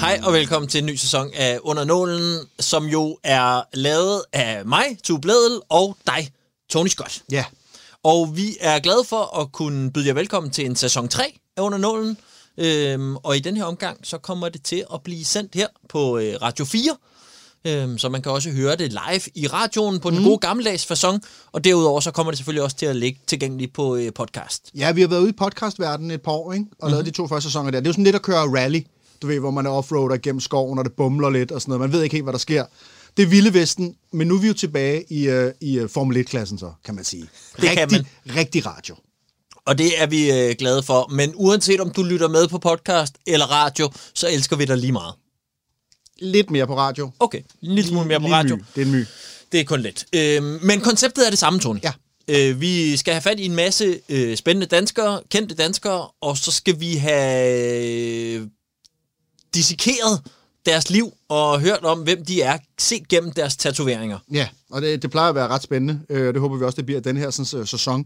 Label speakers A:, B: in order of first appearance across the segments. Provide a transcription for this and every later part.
A: Hej og velkommen til en ny sæson af Under Nålen, som jo er lavet af mig, Tue Bledel, og dig, Tony Scott.
B: Ja.
A: Og vi er glade for at kunne byde jer velkommen til en sæson 3 af Under Nålen. Øhm, og i den her omgang, så kommer det til at blive sendt her på øh, Radio 4. Øhm, så man kan også høre det live i radioen på den mm. gode gammeldags façon. Og derudover, så kommer det selvfølgelig også til at ligge tilgængeligt på øh, podcast.
B: Ja, vi har været ude i podcastverdenen et par år, ikke? Og mm-hmm.
A: Mhm.
B: lavet de to første sæsoner der. Det er jo sådan lidt at køre rally, du ved, hvor man er offroader gennem skoven, og det bumler lidt og sådan noget. Man ved ikke helt, hvad der sker. Det er Vilde Vesten, men nu er vi jo tilbage i, øh, i øh, Formel 1-klassen så, kan man sige.
A: Det kan
B: rigtig, Rigtig radio.
A: Og det er vi øh, glade for. Men uanset om du lytter med på podcast eller radio, så elsker vi dig lige meget.
B: Lidt mere på radio.
A: Okay, en lille smule mere på
B: Lige
A: radio.
B: My. Det er en my.
A: Det er kun lidt. Øh, men konceptet er det samme, Tony.
B: Ja.
A: Øh, vi skal have fat i en masse øh, spændende danskere, kendte danskere, og så skal vi have øh, dissekeret deres liv og hørt om, hvem de er, set gennem deres tatoveringer.
B: Ja, og det, det plejer at være ret spændende. Øh, det håber vi også, det bliver den her sådan, øh, sæson.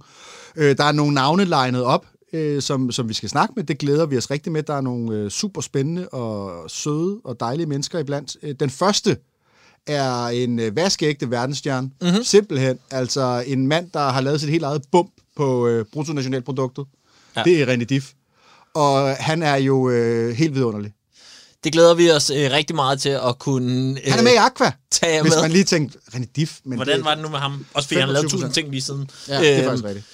B: Øh, der er nogle navne legnet op, øh, som, som vi skal snakke med. Det glæder vi os rigtig med. Der er nogle øh, super spændende og søde og dejlige mennesker iblandt. Øh, den første er en øh, vaskeægte verdensstjerne.
A: Mhm.
B: Mm-hmm. Simpelthen. Altså en mand, der har lavet sit helt eget bump på øh, bruttonationalproduktet.
A: Ja.
B: Ja. Det er René Diff. Og han er jo øh, helt vidunderlig.
A: Det glæder vi os øh, rigtig meget til at kunne øh,
B: Han er med i Aqua,
A: tage jer
B: hvis
A: med.
B: man lige tænkte, René Diff. Men
A: Hvordan
B: det,
A: var Øh, det nu med ham? Også fordi han har lavet
B: 25%.
A: tusind ting lige siden. Øhm,
B: Ja, det er faktisk rigtigt.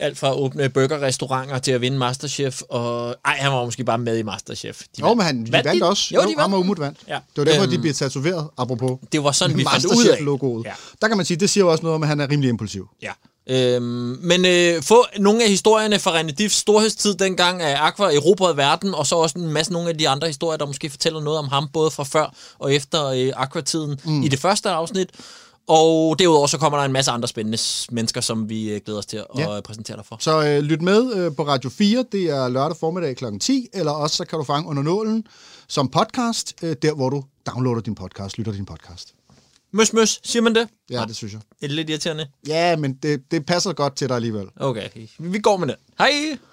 A: Alt fra at åbne burgerrestauranter til at vinde Masterchef. Og... Ej, han var måske bare med i Masterchef. De
B: Jo, men han, de vandt,
A: de?
B: også.
A: Jo, de vandt.
B: ham og Umut vandt.
A: Ja.
B: Det var
A: Øhm,
B: derfor, øhm, de blev tatoveret, apropos.
A: Det var sådan, vi fandt ud af.
B: logoet.
A: Ja.
B: Ja. Der kan man sige, det siger jo også noget om, at han er rimelig impulsiv.
A: Ja. Øhm, men øh, få nogle af historierne fra René Diffs storhedstid dengang af Aqua erobrede verden, og så også en masse nogle af de andre historier, der måske fortæller noget om ham, både fra før og efter øh, Aqua-tiden mm. i det første afsnit. Og derudover så kommer der en masse andre spændende s- mennesker, som vi øh, glæder os til at
B: Ja.
A: ja. præsentere dig for.
B: Så øh, lyt med øh, på Radio 4, det er lørdag formiddag kl. 10, eller også så kan du fange under nålen som podcast, øh, der hvor du downloader din podcast, lytter din podcast.
A: Møs, møs, siger man det?
B: Ja, det synes jeg.
A: Det er lidt irriterende.
B: Ja, men det, det passer godt til dig alligevel.
A: Okay, vi går med det. Hej!